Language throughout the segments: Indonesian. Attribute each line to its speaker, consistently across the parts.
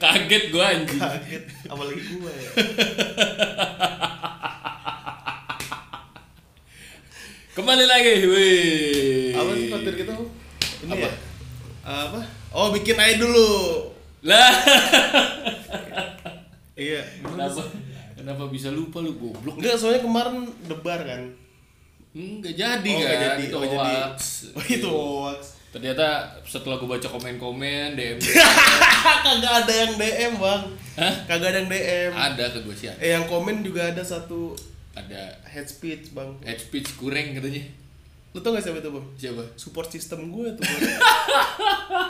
Speaker 1: Kaget gua anjing.
Speaker 2: kaget apalagi gue ya
Speaker 1: Kembali lagi. Wih.
Speaker 2: apa sih konten kita Om? ini
Speaker 1: Apa?
Speaker 2: ya apa oh bikin aja dulu
Speaker 1: Lah,
Speaker 2: iya
Speaker 1: kenapa? Kenapa bisa lupa lu goblok?
Speaker 2: enggak soalnya kemarin debar kan
Speaker 1: Enggak jadi
Speaker 2: Oh,
Speaker 1: kan?
Speaker 2: nggak jadi,
Speaker 1: Itu
Speaker 2: oh, nggak jadi.
Speaker 1: hoax.
Speaker 2: oh itu hoax
Speaker 1: Ternyata setelah gua baca komen-komen DM
Speaker 2: kagak ada yang dm bang
Speaker 1: Hah?
Speaker 2: kagak ada yang dm
Speaker 1: ada ke gua sih ada.
Speaker 2: eh yang komen juga ada satu
Speaker 1: Ada
Speaker 2: head speech bang
Speaker 1: head speech kurang katanya.
Speaker 2: lu tau gak siapa itu bang
Speaker 1: Siapa?
Speaker 2: support system gue tuh bang.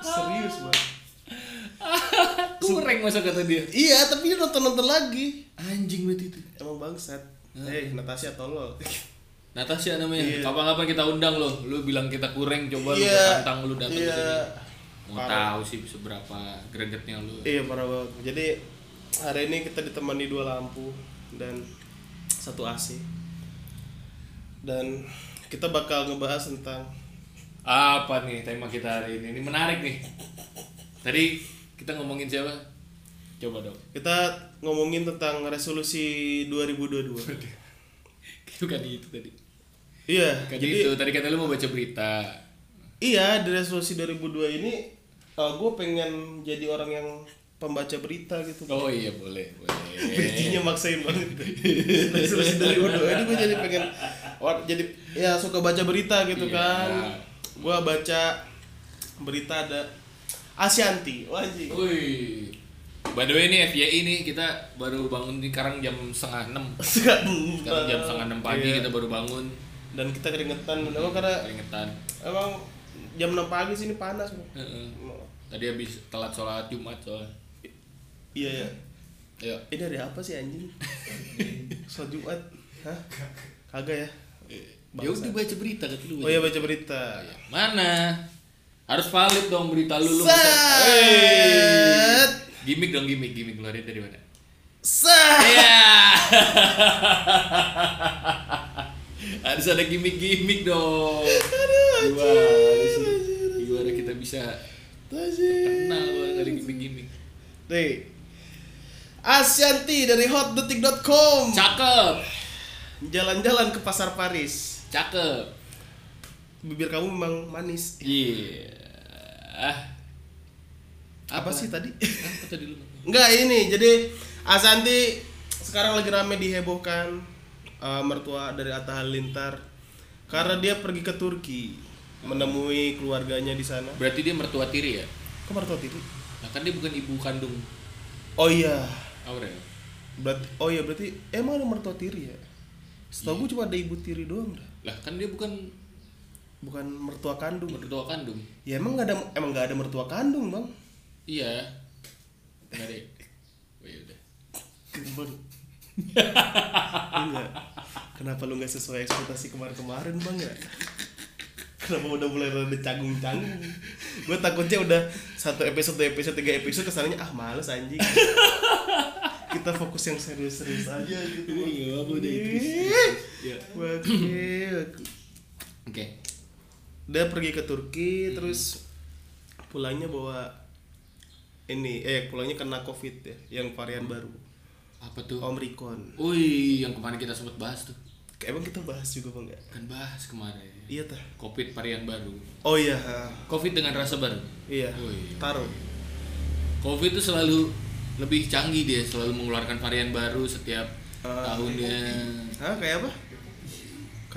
Speaker 2: serius bang
Speaker 1: Kurang masa kata dia.
Speaker 2: iya tapi dia nonton nonton lagi
Speaker 1: Anjing berarti itu.
Speaker 2: emang bangsat eh Natasha tolol
Speaker 1: Natasha namanya.
Speaker 2: Iya.
Speaker 1: Kapan-kapan kita undang lo. Lu bilang kita kurang coba lu
Speaker 2: Iya.
Speaker 1: gua tantang lu datang
Speaker 2: Iya.
Speaker 1: ke sini. Mau
Speaker 2: Parah.
Speaker 1: tahu sih seberapa gregetnya lu.
Speaker 2: Iya parah banget. Jadi hari ini kita ditemani dua lampu dan satu AC. Dan kita bakal ngebahas tentang
Speaker 1: Apa nih tema kita hari ini? Ini menarik nih. Tadi kita ngomongin siapa? Coba dong.
Speaker 2: kita ngomongin tentang resolusi 2022.
Speaker 1: Bukan itu tadi.
Speaker 2: iya,
Speaker 1: Bukan
Speaker 2: jadi
Speaker 1: itu. Tadi kata lu mau baca berita.
Speaker 2: iya di resolusi 2002 ini gue pengen jadi orang yang pembaca berita gitu.
Speaker 1: Oh iya boleh, boleh.
Speaker 2: Beritinya maksain banget. gitu. Resolusi 2002 ini gue jadi pengen or- jadi ya suka baca berita gitu
Speaker 1: Iya.
Speaker 2: kan. Gua baca berita ada Asyanti. Wah, anjing.
Speaker 1: Wih. By the way ini FYI nih kita baru bangun di Karang jam setengah enam. Sekarang jam setengah enam pagi
Speaker 2: Iya.
Speaker 1: kita baru bangun.
Speaker 2: Dan kita keringetan. Emang karena
Speaker 1: Keringetan.
Speaker 2: emang jam 6 pagi sini panas. Bro.
Speaker 1: Heeh. Tadi habis telat sholat Jumat soalnya.
Speaker 2: Iya ya.
Speaker 1: Ayo.
Speaker 2: Ini hari apa sih anjing? Sholat Jumat. Hah? Kagak ya?
Speaker 1: Ya udah baca berita kata lu.
Speaker 2: Oh
Speaker 1: baca
Speaker 2: ya baca berita.
Speaker 1: berita. Mana? Harus valid dong berita lu lu. masa- Hey.
Speaker 2: Set.
Speaker 1: Gimik dong gimik gimik keluarin dari mana?
Speaker 2: Set.
Speaker 1: Iya. Harus ada gimik-gimik dong.
Speaker 2: Aduh,
Speaker 1: Gimana
Speaker 2: anjing,
Speaker 1: sih?
Speaker 2: anjing,
Speaker 1: Gimana kita bisa
Speaker 2: Tajir.
Speaker 1: kenal kalau ada gimik-gimik?
Speaker 2: Nih. Asyanti dari hotdetik.com.
Speaker 1: Cakep,
Speaker 2: Jalan-jalan ke pasar Paris.
Speaker 1: cakep.
Speaker 2: Bibir kamu memang manis.
Speaker 1: Iya. Ah.
Speaker 2: Apa, sih tadi?
Speaker 1: Apa tadi lu?
Speaker 2: Enggak ini. Jadi Asyanti sekarang lagi rame dihebohkan eh, mertua dari Atta Halilintar karena dia pergi ke Turki menemui keluarganya di sana.
Speaker 1: Berarti dia mertua tiri ya?
Speaker 2: Kok mertua tiri?
Speaker 1: Nah, kan dia bukan ibu kandung
Speaker 2: Oh iya.
Speaker 1: Aurel.
Speaker 2: Berarti oh iya berarti emang ada mertua tiri ya? Setahu gue cuma ada ibu tiri doang dah.
Speaker 1: Lah kan dia bukan
Speaker 2: Bukan mertua kandung.
Speaker 1: mertua kandung.
Speaker 2: Ya emang gak ada emang gak ada mertua kandung bang.
Speaker 1: Iya. Enggak deh. Oh, ya udah.
Speaker 2: Bang. Enggak. Iya. Kenapa lu nggak sesuai ekspektasi kemarin-kemarin bang ya? Kenapa udah mulai rada canggung-canggung? Gue takutnya udah satu episode, dua episode, tiga episode kesannya ah males anjing. Kita fokus yang serius-serius aja gitu. Bang. Iya.
Speaker 1: Iya, apa udah itu?
Speaker 2: Ih,
Speaker 1: Ya.
Speaker 2: Wakil.
Speaker 1: Oke.
Speaker 2: Dia pergi ke
Speaker 1: Hmm.
Speaker 2: Turki terus pulangnya bawa ini eh pulangnya kena covid ya yang varian
Speaker 1: Hmm.
Speaker 2: baru
Speaker 1: Apa tuh?
Speaker 2: Omicron.
Speaker 1: Ui, yang kemarin kita sempat bahas tuh.
Speaker 2: Emang kita bahas juga bang ya?
Speaker 1: Kan bahas kemarin.
Speaker 2: Iya tah.
Speaker 1: Covid varian baru.
Speaker 2: Oh iya, ha.
Speaker 1: Covid dengan rasa baru.
Speaker 2: iya.
Speaker 1: Oh, iya.
Speaker 2: Taruh.
Speaker 1: Covid itu selalu lebih canggih dia, selalu mengeluarkan varian baru setiap
Speaker 2: Ah. iya.
Speaker 1: tahunnya.
Speaker 2: Hah kayak apa?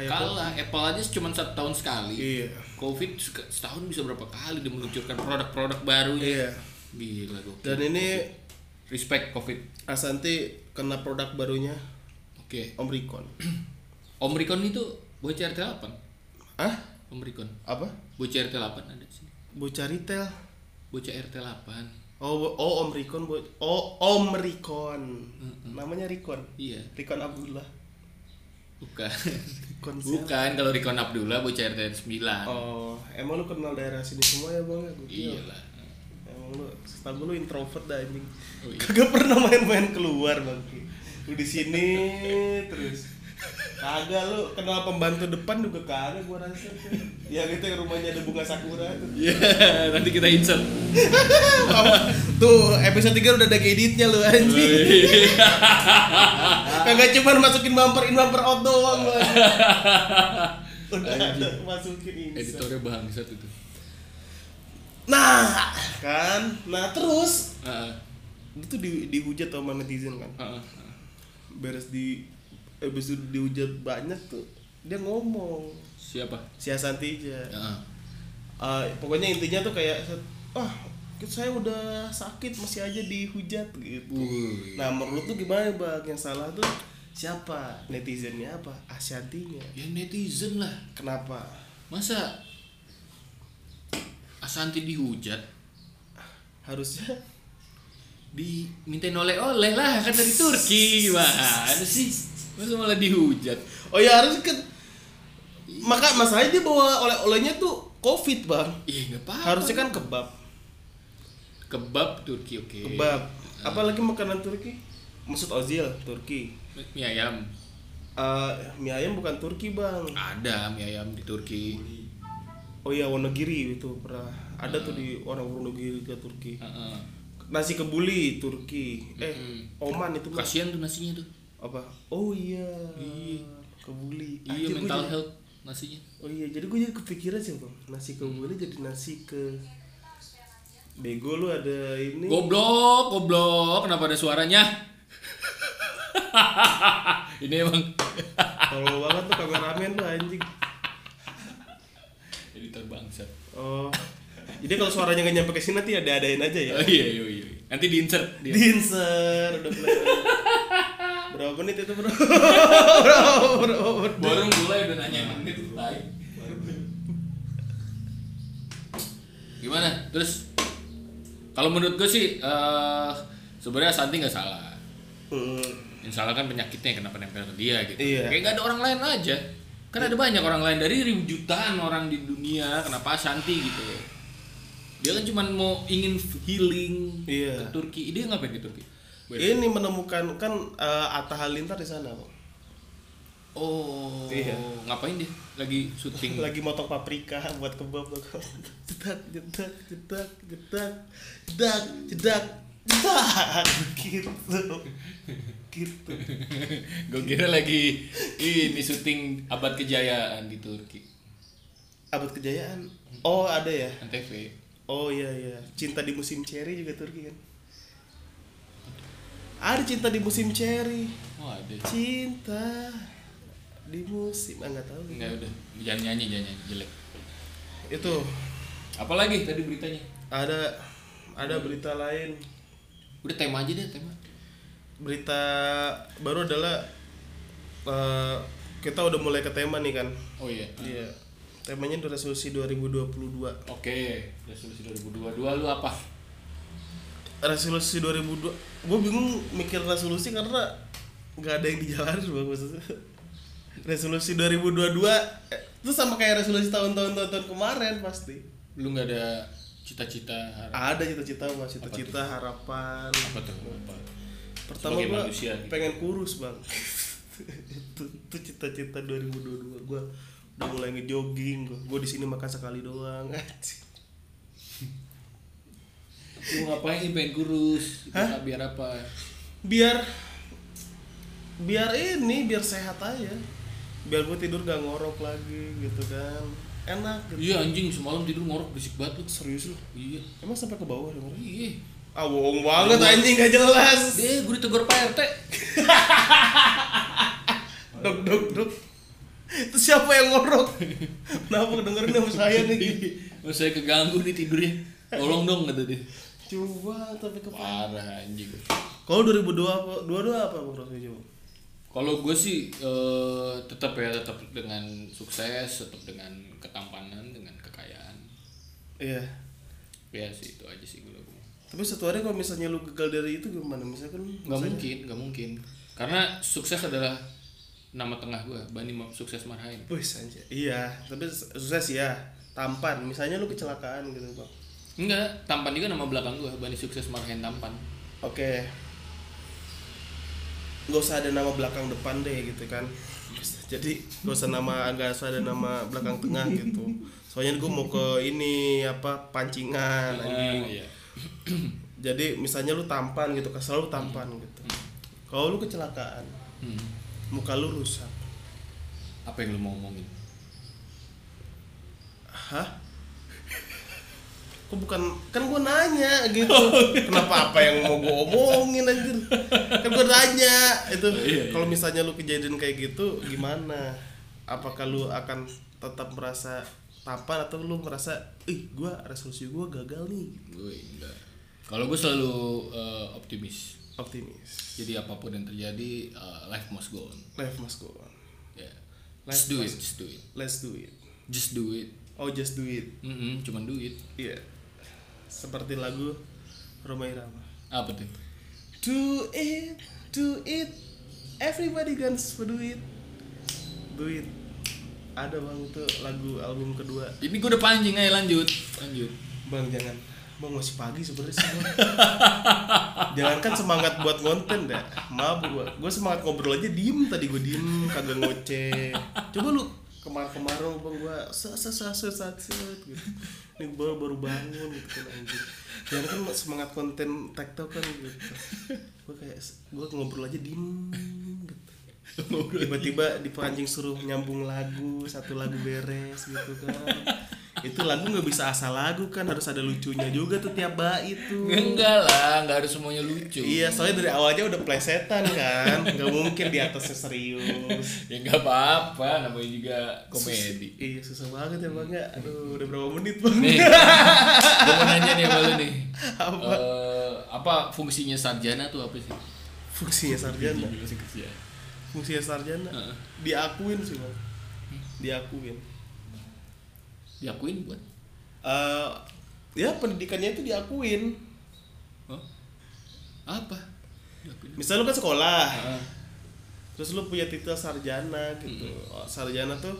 Speaker 2: Kayak apa?
Speaker 1: Kalah, Apple aja cuma satu tahun sekali.
Speaker 2: Iya.
Speaker 1: Covid suka- setahun bisa berapa kali dia meluncurkan produk-produk baru ya.
Speaker 2: Iya.
Speaker 1: Gila gua.
Speaker 2: Dan ini
Speaker 1: Respect Covid.
Speaker 2: Asanti kena produk barunya
Speaker 1: Oke.
Speaker 2: Omricon.
Speaker 1: Omricon itu bocah RT 8.
Speaker 2: Hah?
Speaker 1: Omricon.
Speaker 2: Apa?
Speaker 1: Bocah RT 8 ada di sini.
Speaker 2: Bocah retail.
Speaker 1: Bocah RT 8.
Speaker 2: Oh, bo- oh Omricon, bo- oh Omricon.
Speaker 1: Hmm,
Speaker 2: Namanya Ricon.
Speaker 1: Iya,
Speaker 2: Ricon Abdullah.
Speaker 1: bukan.
Speaker 2: Ricon siapa?
Speaker 1: bukan kalau Rikon Abdullah bocah RT 9.
Speaker 2: Oh, emang lu kenal daerah sini semua ya bang? ya? Gokil.
Speaker 1: Iya lah.
Speaker 2: Emang lu, setahu gue lu introvert dah anjing.
Speaker 1: Oh, iya.
Speaker 2: Kagak pernah main-main keluar bang. Lu di sini terus. Kagak lu kenal pembantu depan juga kagak gua rasa. Ya gitu yang rumahnya ada bunga sakura tuh.
Speaker 1: Iya, nanti kita insert.
Speaker 2: Pam- Tuh, episode 3 udah ada editnya lu
Speaker 1: Oh,
Speaker 2: anjing.
Speaker 1: iya.
Speaker 2: Kagak cuman masukin bumper in bumper out doang lu. anjing. Udah ada masukin insert.
Speaker 1: Editornya bangsat itu.
Speaker 2: Nah, kan. Nah, terus
Speaker 1: Heeh.
Speaker 2: itu di dihujat sama netizen kan.
Speaker 1: Heeh.
Speaker 2: Beres di episode dihujat banyak tuh. Dia ngomong
Speaker 1: Siapa?
Speaker 2: si Ashanti aja.
Speaker 1: Heeh.
Speaker 2: Eh, pokoknya intinya tuh kayak wah saya udah sakit masih aja dihujat gitu.
Speaker 1: Wuih.
Speaker 2: Nah menurut tuh gimana bang yang salah tuh siapa netizennya apa asyatinya
Speaker 1: Ya netizen lah.
Speaker 2: kenapa
Speaker 1: Masa Asanti dihujat,
Speaker 2: harusnya
Speaker 1: dimintain oleh-oleh lah kan dari Turki gimana sih? Masa malah dihujat?
Speaker 2: oh ya harus kan maka masalahnya dia bawa oleh-olehnya tuh covid bang
Speaker 1: Iya nggak apa-apa.
Speaker 2: harusnya kan kebab
Speaker 1: kebab Turki oke.
Speaker 2: kebab
Speaker 1: Iya.
Speaker 2: apalagi makanan Turki maksud Ozil Turki
Speaker 1: Mie ayam
Speaker 2: Eh mie ayam bukan Turki bang
Speaker 1: ada mie ayam di Turki.
Speaker 2: oh ya Wonogiri itu pernah ada tuh
Speaker 1: Hmm.
Speaker 2: di orang Wonogiri ke Turki
Speaker 1: Heeh.
Speaker 2: nasi kebuli Turki eh
Speaker 1: Hmm.
Speaker 2: Oman itu mah.
Speaker 1: Kasian tuh nasinya tuh.
Speaker 2: apa oh iya kebuli
Speaker 1: Iya
Speaker 2: Anjir, gua
Speaker 1: mental
Speaker 2: jadi-
Speaker 1: health nasinya.
Speaker 2: oh iya jadi gue jadi kepikiran sih bang nasi
Speaker 1: Hmm.
Speaker 2: kebuli jadi nasi ke bego lu ada ini
Speaker 1: Goblok, goblok. Kenapa ada suaranya? Ini emang
Speaker 2: kalau banget tuh kameramen tuh anjing
Speaker 1: editor bangsat.
Speaker 2: oh jadi kalau suaranya gak nyampe ke sini nanti ada adain aja ya
Speaker 1: Oh iya iya iya. Nanti diinsert dia.
Speaker 2: dinser udah mulai berapa menit itu bro bro bro, bro.
Speaker 1: Baru mulai ya, udah nanya menit baik. Gimana? Terus kalau menurut gue sih eh sebenarnya Santi nggak salah.
Speaker 2: Hmm.
Speaker 1: Yang salah kan penyakitnya yang kenapa nempel ke dia gitu.
Speaker 2: Iya.
Speaker 1: Kayak nggak ada orang lain aja. Kan ada banyak orang lain dari ribu jutaan orang di dunia kenapa Santi gitu. Dia kan cuma mau ingin healing
Speaker 2: Iya.
Speaker 1: ke Turki. Dia ngapain ke Turki?
Speaker 2: ini menemukan kan eh, Atta Halilintar di sana bang
Speaker 1: Oh,
Speaker 2: Iya.
Speaker 1: ngapain dia? Lagi syuting.
Speaker 2: lagi motong paprika buat kebab tuh jedak jedak jedak jedak jedak jedak jedak gitu gitu
Speaker 1: Gue kira lagi ini syuting abad kejayaan di Turki.
Speaker 2: abad kejayaan oh ada ya
Speaker 1: Antv.
Speaker 2: oh iya iya cinta di musim cherry juga Turki kan ada cinta di musim cherry
Speaker 1: Wah, Oh, ada.
Speaker 2: cinta di musim ah nggak tahu
Speaker 1: Enggak udah, jangan nyanyi, jangan nyanyi jelek.
Speaker 2: itu
Speaker 1: Apalagi tadi beritanya?
Speaker 2: ada ada berita lain
Speaker 1: Udah tema aja deh, tema.
Speaker 2: berita baru adalah eh, kita udah mulai ke tema nih kan.
Speaker 1: Oh iya.
Speaker 2: Iya. Temanya itu resolusi 2022.
Speaker 1: Oke, resolusi 2022 lu apa?
Speaker 2: Resolusi 2002. Gue bingung mikir resolusi karena nggak ada yang dijalanin bang maksudnya. Resolusi 2022 eh, itu sama kayak resolusi tahun-tahun tahun kemarin pasti.
Speaker 1: Lu nggak ada cita-cita harap
Speaker 2: Ada cita-cita mas, cita-cita harapan.
Speaker 1: apa tuh? Apa?
Speaker 2: Pertama
Speaker 1: Sebagai
Speaker 2: gue
Speaker 1: manusia gitu.
Speaker 2: pengen kurus bang. itu itu cita-cita 2022 gue udah mulai ngejogging gue gue di sini makan sekali doang
Speaker 1: Lu ngapain pengen kurus? Hah? Biar apa?
Speaker 2: biar biar ini biar sehat aja biar gue tidur gak ngorok lagi gitu kan enak gitu
Speaker 1: Iya anjing semalam tidur ngorok berisik banget lu.
Speaker 2: serius lu
Speaker 1: Iya.
Speaker 2: emang sampai ke bawah dengar
Speaker 1: Iya.
Speaker 2: ah bohong banget anjing gak jelas
Speaker 1: Deh, gue ditegur Pak RT.
Speaker 2: dok dok dok itu siapa yang ngorok kenapa kedengerin sama saya nih
Speaker 1: Mas Oh, saya keganggu nih tidurnya. Tolong dong kata dia.
Speaker 2: coba sampai ke
Speaker 1: Parah anjing.
Speaker 2: Kalau 2022 apa? 22 apa Bang Rosli coba?
Speaker 1: Kalau gue sih eh, tetap ya tetap dengan sukses, tetap dengan ketampanan, dengan kekayaan.
Speaker 2: Iya.
Speaker 1: Ya sih itu aja sih gue.
Speaker 2: Tapi satu hari kalau misalnya lu gagal dari itu gimana? Misalkan
Speaker 1: Gak mungkin, gak mungkin. Karena sukses adalah nama tengah gue, Bani Ma- Sukses Marhaim.
Speaker 2: Wih, anjir. Iya, tapi sukses ya. Tampan, misalnya lu kecelakaan gitu, Bang.
Speaker 1: Enggak, tampan juga nama belakang gue, Bani Sukses Marhaim Tampan.
Speaker 2: Oke. Gak usah ada nama belakang depan deh gitu kan. Jadi gak usah nama gak usah ada nama belakang tengah gitu. Nah, Soalnya gue mau ke ini apa pancingan anjing.
Speaker 1: iya.
Speaker 2: jadi misalnya lu tampan gitu kesel lu tampan gitu kalau lu kecelakaan
Speaker 1: Hmm.
Speaker 2: muka lu rusak
Speaker 1: Apa yang lu mau ngomongin?
Speaker 2: hah kok bukan kan gua nanya gitu
Speaker 1: Oh, iya.
Speaker 2: kenapa apa yang mau gua omongin anjir kan gua nanya itu
Speaker 1: Iya, iya.
Speaker 2: kalau misalnya lu kejadian kayak gitu gimana apakah lu akan tetap merasa tampan atau lu merasa ih gua resolusi gua gagal nih
Speaker 1: Gue enggak. Kalau gue selalu eh, optimis.
Speaker 2: optimis
Speaker 1: Jadi apapun yang terjadi, eh, life must go on.
Speaker 2: life must go on
Speaker 1: Yeah.
Speaker 2: Life
Speaker 1: Just do it,
Speaker 2: must-
Speaker 1: just do it.
Speaker 2: let's do it
Speaker 1: Just do it.
Speaker 2: oh just do it
Speaker 1: Mm-mm, cuman duit.
Speaker 2: Iya. Seperti lagu Roma Irama.
Speaker 1: Apa tuh?
Speaker 2: Do it, do it. Everybody guns for do it. Do it. Ada bang itu lagu album kedua.
Speaker 1: Ini gue udah pancing aja lanjut. Lanjut.
Speaker 2: Bang jangan. Bang masih pagi sebenarnya sih. Bang. Jangankan semangat buat konten dah. Mabuk gua. Gua semangat ngobrol aja diem tadi gua diem kagak ngoceh. Coba lu kemarin-kemarin bang gua set set set set set, set, gitu. Ini baru baru bangun gitu kan anjir. Jangankan lu semangat konten TikTok kan gitu. Gua kayak gua ngobrol aja diem gitu. Tiba-tiba di pancing suruh nyambung lagu, satu lagu beres gitu kan. Itu lagu nggak bisa asal lagu kan, harus ada lucunya juga tuh tiap bait tuh.
Speaker 1: Enggak lah, enggak harus semuanya lucu.
Speaker 2: Iya, soalnya dari awalnya udah plesetan kan, nggak mungkin di atasnya serius.
Speaker 1: Ya enggak apa-apa, namanya juga komedi. Hmm.
Speaker 2: Iya susah banget ya bang ya. Aduh udah berapa menit bang?
Speaker 1: Nih, gue mau nanya nih sama lu nih.
Speaker 2: Apa?
Speaker 1: Eh, apa fungsinya sarjana tuh apa sih?
Speaker 2: Fungsinya ya, sarjana,
Speaker 1: Fungsinya kerja.
Speaker 2: fungsinya sarjana
Speaker 1: Heeh.
Speaker 2: diakuin sih bang, diakuin.
Speaker 1: Diakuin buat?
Speaker 2: Eh, ya pendidikannya itu diakuin.
Speaker 1: Hah? Apa? Diakuin.
Speaker 2: Misal lu kan sekolah,
Speaker 1: Ah,
Speaker 2: terus lu punya titel sarjana gitu.
Speaker 1: Hmm.
Speaker 2: Oh, Sarjana tuh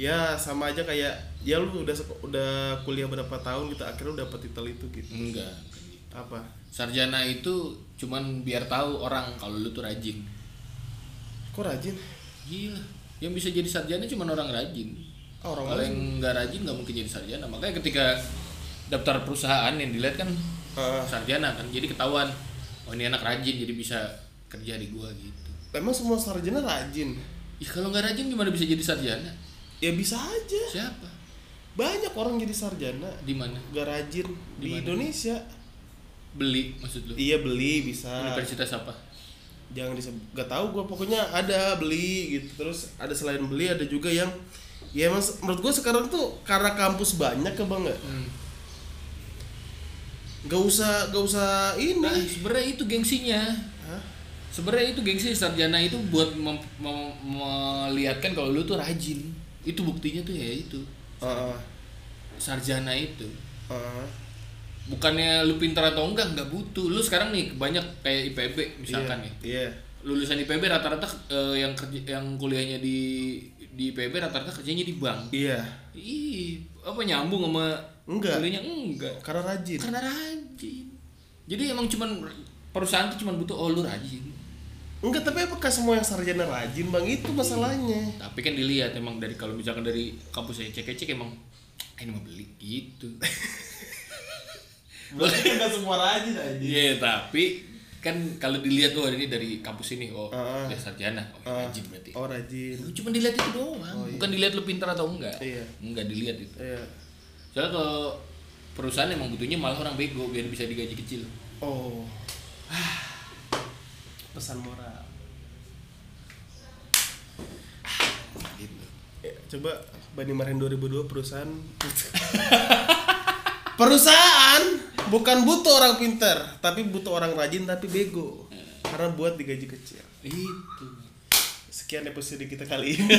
Speaker 2: ya sama aja kayak ya lu udah seko- udah kuliah berapa tahun gitu akhirnya lu dapet titel itu gitu.
Speaker 1: enggak.
Speaker 2: Apa?
Speaker 1: Sarjana itu cuman biar tahu orang kalau lu tuh rajin.
Speaker 2: Kok rajin?
Speaker 1: Gila. Yang bisa jadi sarjana cuman orang rajin.
Speaker 2: Ah, orang
Speaker 1: Kalau yang nggak rajin nggak mungkin jadi sarjana. Makanya ketika daftar perusahaan yang dilihat kan
Speaker 2: Ah.
Speaker 1: sarjana kan, jadi ketahuan. Oh ini anak rajin jadi bisa kerja di gua gitu.
Speaker 2: Emang semua sarjana rajin?
Speaker 1: Ih, kalau nggak rajin gimana bisa jadi sarjana?
Speaker 2: Ya bisa aja.
Speaker 1: Siapa?
Speaker 2: Banyak orang jadi sarjana
Speaker 1: Di mana?
Speaker 2: gak rajin
Speaker 1: Di
Speaker 2: di,
Speaker 1: mana?
Speaker 2: Indonesia.
Speaker 1: Beli maksud lu?
Speaker 2: Iya beli bisa.
Speaker 1: Universitas apa?
Speaker 2: Jangan disebut. Gak tahu gue pokoknya ada beli gitu. Terus ada selain beli ada juga yang ya emang se- menurut gue sekarang tuh karena kampus banyak ya bang nggak?
Speaker 1: Hmm.
Speaker 2: Gak usah gak
Speaker 1: Nah,
Speaker 2: usah ini.
Speaker 1: sebenarnya itu gengsinya.
Speaker 2: Hah?
Speaker 1: Sebenarnya itu gengsi sarjana itu buat mem- mem- melihatkan kalau lu tuh rajin. Itu buktinya tuh ya itu.
Speaker 2: Ah,
Speaker 1: Sarjana itu.
Speaker 2: ah.
Speaker 1: Bukannya lu pintar atau enggak nggak butuh. Lu sekarang nih banyak kayak IPB misalkan ya. nih.
Speaker 2: Iya.
Speaker 1: Lulusan IPB rata-rata eh, yang kerja, yang kuliahnya di di IPB rata-rata kerjanya di bank.
Speaker 2: Iya.
Speaker 1: Ih, apa nyambung sama
Speaker 2: Enggak.
Speaker 1: kuliahnya enggak.
Speaker 2: Karena rajin.
Speaker 1: Karena rajin. Jadi emang cuman perusahaan tuh cuman butuh oh lu rajin.
Speaker 2: Enggak, tapi apakah semua yang sarjana rajin, Bang? Itu masalahnya.
Speaker 1: tapi kan dilihat emang dari kalau misalkan dari kampus saya cek cek emang "Ah, ini mau beli gitu
Speaker 2: Berarti enggak semua rajin aja.
Speaker 1: iya tapi kan kalau dilihat tuh ini dari kampus ini oh
Speaker 2: Ah.
Speaker 1: dia sarjana oh
Speaker 2: Ah.
Speaker 1: rajin berarti
Speaker 2: Oh, rajin.
Speaker 1: Lu cuma dilihat itu doang bukan dilihat lu pintar atau enggak
Speaker 2: Iya.
Speaker 1: enggak dilihat itu
Speaker 2: Iya.
Speaker 1: soalnya kalau perusahaan emang butuhnya malah orang bego biar bisa digaji kecil
Speaker 2: Oh. Pesan moral.
Speaker 1: gitu
Speaker 2: Ya, coba Bani Marin 2002 perusahaan Perusahaan bukan butuh orang pinter, tapi butuh orang rajin tapi bego. Karena buat digaji kecil.
Speaker 1: itu
Speaker 2: Sekian episode kita kali ini.